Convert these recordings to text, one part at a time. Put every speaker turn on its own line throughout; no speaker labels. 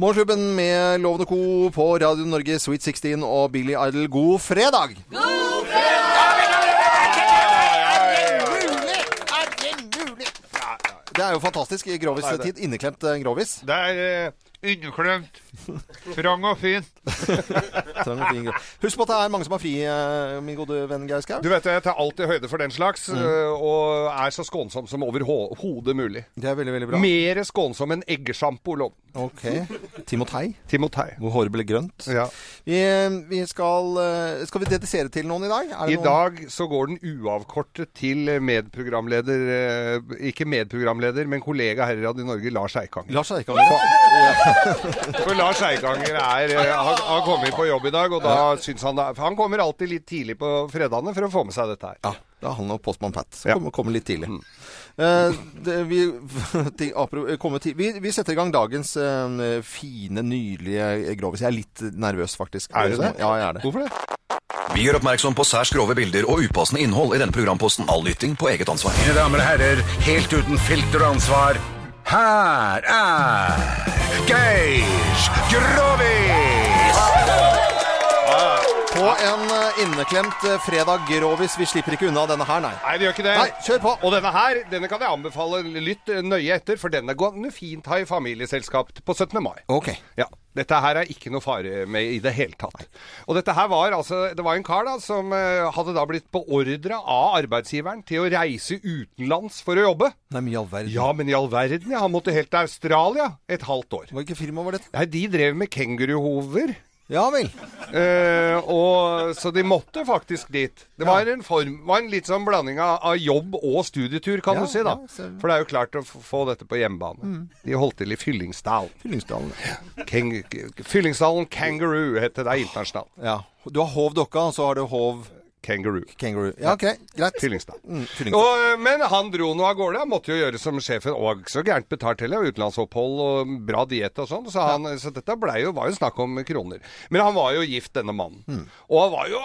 Morgenklubben med Lovende Co. på Radio Norge, Sweet 16 og Billy Idol, god fredag! Det er jo fantastisk. i Grovis-tid. Inneklemt eh, grovis.
Det er eh, underklemt. Trang og fint.
Trang og fin gro- Husk på at det er mange som har fri, eh, min gode venn Geir Skau.
Du vet, Jeg tar alltid høyde for den slags, øh, og er så skånsom som overhodet mulig.
Det er veldig, veldig bra.
Mer skånsom enn eggesjampo. lov.
Ok. Timotei,
Timotei.
hvor håret ble grønt.
Ja.
Vi, vi skal eh, Skal vi dedisere til noen i dag? Er det
I
noen-
dag så går den uavkortet til medprogramleder eh, Ikke medprogramleder, men kollega her i Radio Norge, Lars Eikanger.
Lars Eikanger. Ja.
For Lars Eikanger er, eh, har, har kommet på jobb i dag, og da syns han da Han kommer alltid litt tidlig på fredagene for å få med seg dette her.
Ja, det er han og postmann Pat. som
Ja.
Kommer, kommer litt tidlig. Eh, det, vi, til, apro- eh, kommer til, vi, vi setter i gang dagens eh, fine, nydelige eh, grovis. Jeg er litt nervøs, faktisk.
Er du det?
Ja, jeg er det.
Hvorfor det?
Vi gjør oppmerksom på særs grove bilder og upassende innhold i denne programposten. All lytting på eget ansvar.
Mine damer og herrer, helt uten filter og ansvar, her er Geir Grovis!
På en eh, inneklemt eh, fredag grovis. Vi slipper ikke unna denne her, nei.
Nei, vi gjør ikke det.
Nei, kjør på!
Og denne her denne kan jeg anbefale lytt nøye etter, for denne går den fint ha i familieselskap på 17. mai.
Ok.
Ja, Dette her er ikke noe fare med i det hele tatt. Og dette her var altså Det var en kar da som eh, hadde da blitt beordra av arbeidsgiveren til å reise utenlands for å jobbe.
Nei, men i all verden.
Ja, men i all verden, ja. Han måtte helt til Australia et halvt år.
Hvilket firma var dette?
Nei, de drev med kenguruhover.
Ja vel.
Eh, og, så de måtte faktisk dit. Det var en form, var en litt sånn blanding av, av jobb og studietur, kan
Ja,
du si. da
ja, så- Mm.
For det er jo klart å f- få dette på hjemmebane. De holdt til i Fyllingsdalen.
Fyllingsdalen.
Keng Fyllingsdalen Kangaroo het det der internasjonalt.
Ja. Du har Hov Dokka, og så har du Hov
Kangaroo.
Kangaroo. Ja, ok. Greit. Mm,
Fyllingsdalen.
Fyllingsdalen.
Og, eh, men han dro nå av gårde. Han måtte jo gjøre som sjefen. Og så gærent betalt heller. og Utenlandsopphold og bra diett og sånn. Så, han, så dette ble jo, var jo snakk om kroner. Men han var jo gift, denne mannen. Og han var jo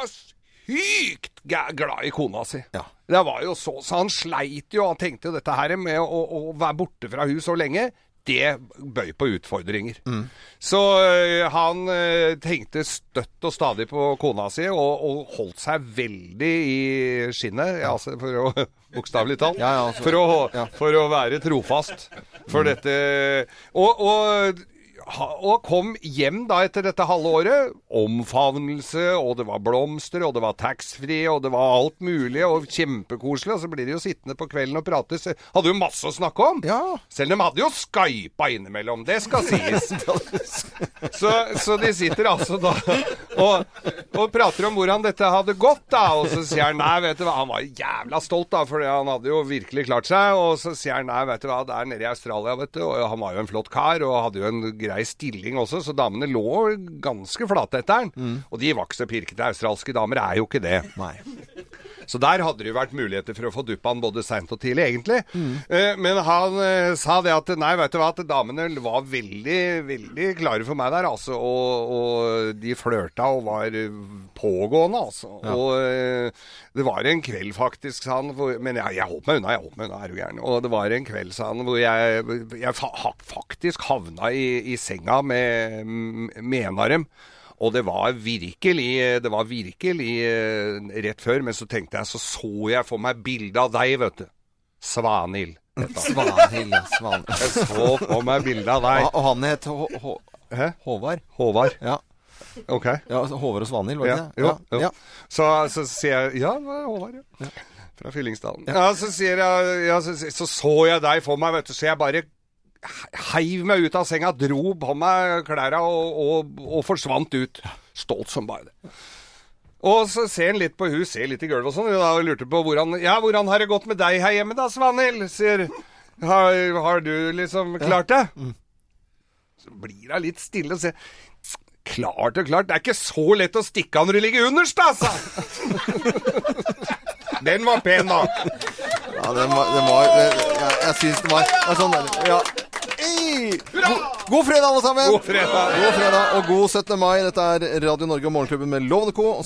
sykt ga- glad i kona si.
Ja.
Det var jo så, så han sleit jo. Han tenkte jo dette her med å, å være borte fra hus så lenge. Det bøy på utfordringer.
Mm.
Så ø, han ø, tenkte støtt og stadig på kona si, og, og holdt seg veldig i skinnet, ja, altså for å Bokstavelig talt.
Ja, ja, altså,
for, å,
ja.
for å være trofast for dette. Og, og, ha- og kom hjem da etter dette halve året. Omfavnelse, og det var blomster, og det var taxfree, og det var alt mulig, og kjempekoselig. Og så blir de jo sittende på kvelden og prate. så Hadde jo masse å snakke om.
Ja.
Selv om de hadde jo skypa innimellom, det skal sies. Så, så de sitter altså da og, og prater om hvordan dette hadde gått, da. Og så sier han nei, vet du hva. Han var jævla stolt, da, for han hadde jo virkelig klart seg. Og så sier han nei, vet du hva, det er nede i Australia, vet du. Og han var jo en flott kar, og hadde jo en grei stilling også, så damene lå ganske flate etter han. Og de var ikke så pirkete. Australske damer er jo ikke det.
Nei.
Så der hadde det jo vært muligheter for å få duppa han både seint og tidlig, egentlig. Eh, men han eh, sa det at nei, veit du hva, at damene var veldig, veldig klare for meg der, altså. Og, og de flørta og var eh, pågående, altså. Og eh, det var en kveld, faktisk, sa han, hvor, men jeg, jeg holdt meg unna, jeg holdt meg unna, er du gæren. Og det var en kveld, sa han, hvor jeg, jeg fa ha- faktisk havna i, i senga med, med en av dem. Og det var virkelig Det var virkelig eh, rett før, men så tenkte jeg, så så jeg for meg bildet av deg, vet du. Svanhild.
Svanhild. ja, Svanhild.
Jeg så for meg bildet av
Ja,
deg.
Og han het Hå- Hå-
Hæ?
Håvard.
Håvard.
Ja.
Ok.
ja altså, Håvard og Svanhild, var det
Ja,
ikke det?
jo,
ja.
jo.
ja.
Så, så sier jeg Ja, det var Håvard, ja. Fra Fyllingsdalen. Ja, så sier jeg ja, så, så så jeg deg for meg, vet du, så jeg bare heiv meg ut av senga, dro på meg klærne og, og, og forsvant ut. Stolt som bare det. Og så ser han litt på hus, ser litt i gulvet og sånn, og da lurte på hvordan Ja, hvordan har det gått med deg her hjemme da, Svanhild? Sier har, har du liksom klart det?
Mm.
Så blir hun litt stille og sier Klart og klart, det er ikke så lett å stikke av når du ligger underst, altså! Den var pen, da.
Ja, den var, den var den- Jeg, jeg syns den var ja, sånn der. Ja. Ei! God, god fredag, alle sammen!
God fredag.
God fredag og god 17. mai. Dette er Radio Norge og Morgenklubben med Lovende Co.